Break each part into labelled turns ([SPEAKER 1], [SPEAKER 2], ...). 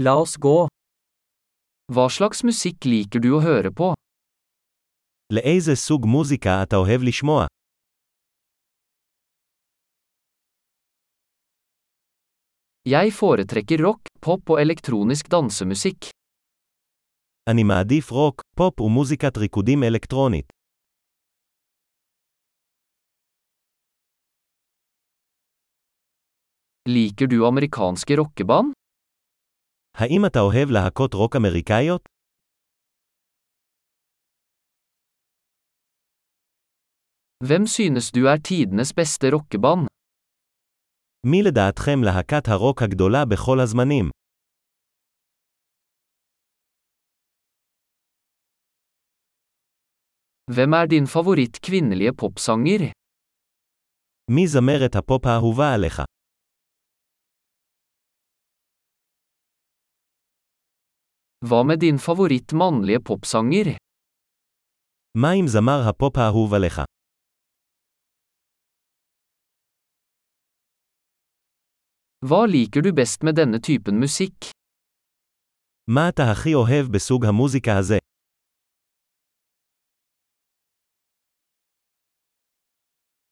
[SPEAKER 1] La oss gå. Hva slags musikk liker du å høre på?
[SPEAKER 2] לאיזה סוג מוזיקה אתה אוהב לשמוע?
[SPEAKER 1] Jeg foretrekker rock, pop og elektronisk dansemusikk.
[SPEAKER 2] אני מעדיף רוק, פופ ומוזיקת ריקודים אלקטרונית.
[SPEAKER 1] Liker du amerikanske rockeband?
[SPEAKER 2] האם אתה אוהב להקות רוק אמריקאיות?
[SPEAKER 1] Hvem synes du er tidenes beste rockeband?
[SPEAKER 2] מי לדעתכם להקת הרוק הגדולה בכל הזמנים?
[SPEAKER 1] Hvem er din favoritt kvinnelige popsanger?
[SPEAKER 2] מי זמרת הפופ האהובה עליך?
[SPEAKER 1] Hva med din favoritt mannlige popsanger?
[SPEAKER 2] מה עם זמר הפופ האהוב עליך?
[SPEAKER 1] Hva liker du best med denne typen musikk?
[SPEAKER 2] מה אתה הכי אוהב בסוג המוזיקה הזה?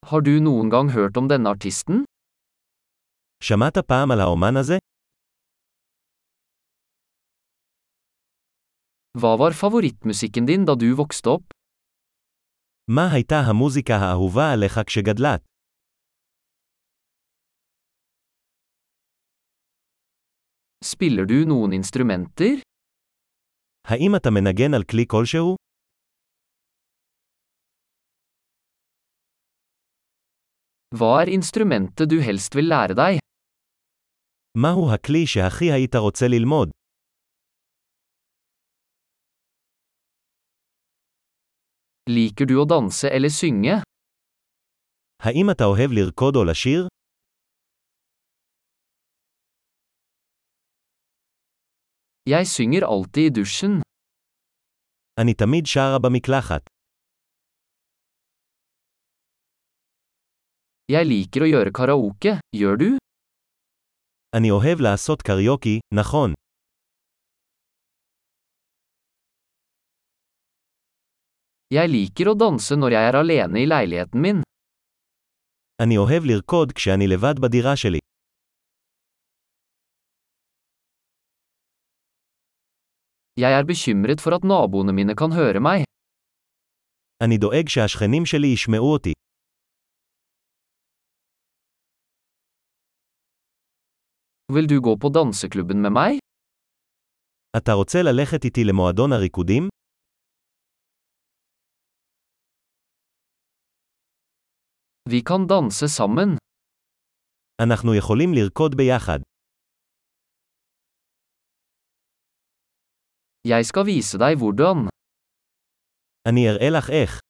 [SPEAKER 1] Har du noen gang hørt om denne artisten?
[SPEAKER 2] שמעת פעם על האומן הזה?
[SPEAKER 1] Hva var favorittmusikken din da du vokste opp?
[SPEAKER 2] מה הייתה המוזיקה האהובה עליך כשגדלת?
[SPEAKER 1] Spiller du noen instrumenter?
[SPEAKER 2] האם אתה מנגן על כלי כלשהו?
[SPEAKER 1] Hva er instrumentet du helst vil lære deg?
[SPEAKER 2] מהו הכלי שהכי היית רוצה ללמוד?
[SPEAKER 1] Liker du å danse eller synge?
[SPEAKER 2] האם אתה אוהב לרקוד או לשיר?
[SPEAKER 1] Jeg synger alltid i dusjen.
[SPEAKER 2] אני תמיד שרה במקלחת.
[SPEAKER 1] Jeg liker å gjøre karaoke, gjør du?
[SPEAKER 2] אני אוהב לעשות קריוקי, נכון.
[SPEAKER 1] Jeg liker å danse når jeg er alene i leiligheten min.
[SPEAKER 2] אני אוהב לרקוד כשאני לבד בדירה שלי.
[SPEAKER 1] Jeg er bekymret for at naboene mine kan høre meg.
[SPEAKER 2] אני דואג שהשכנים שלי ישמעו אותי.
[SPEAKER 1] Vil du gå på danseklubben med meg?
[SPEAKER 2] אתה רוצה ללכת איתי למועדון הריקודים?
[SPEAKER 1] Vi kan danse sammen.
[SPEAKER 2] אנחנו יכולים לרקוד ביחד.
[SPEAKER 1] Jeg skal vise deg hvordan.
[SPEAKER 2] אני אראה לך איך.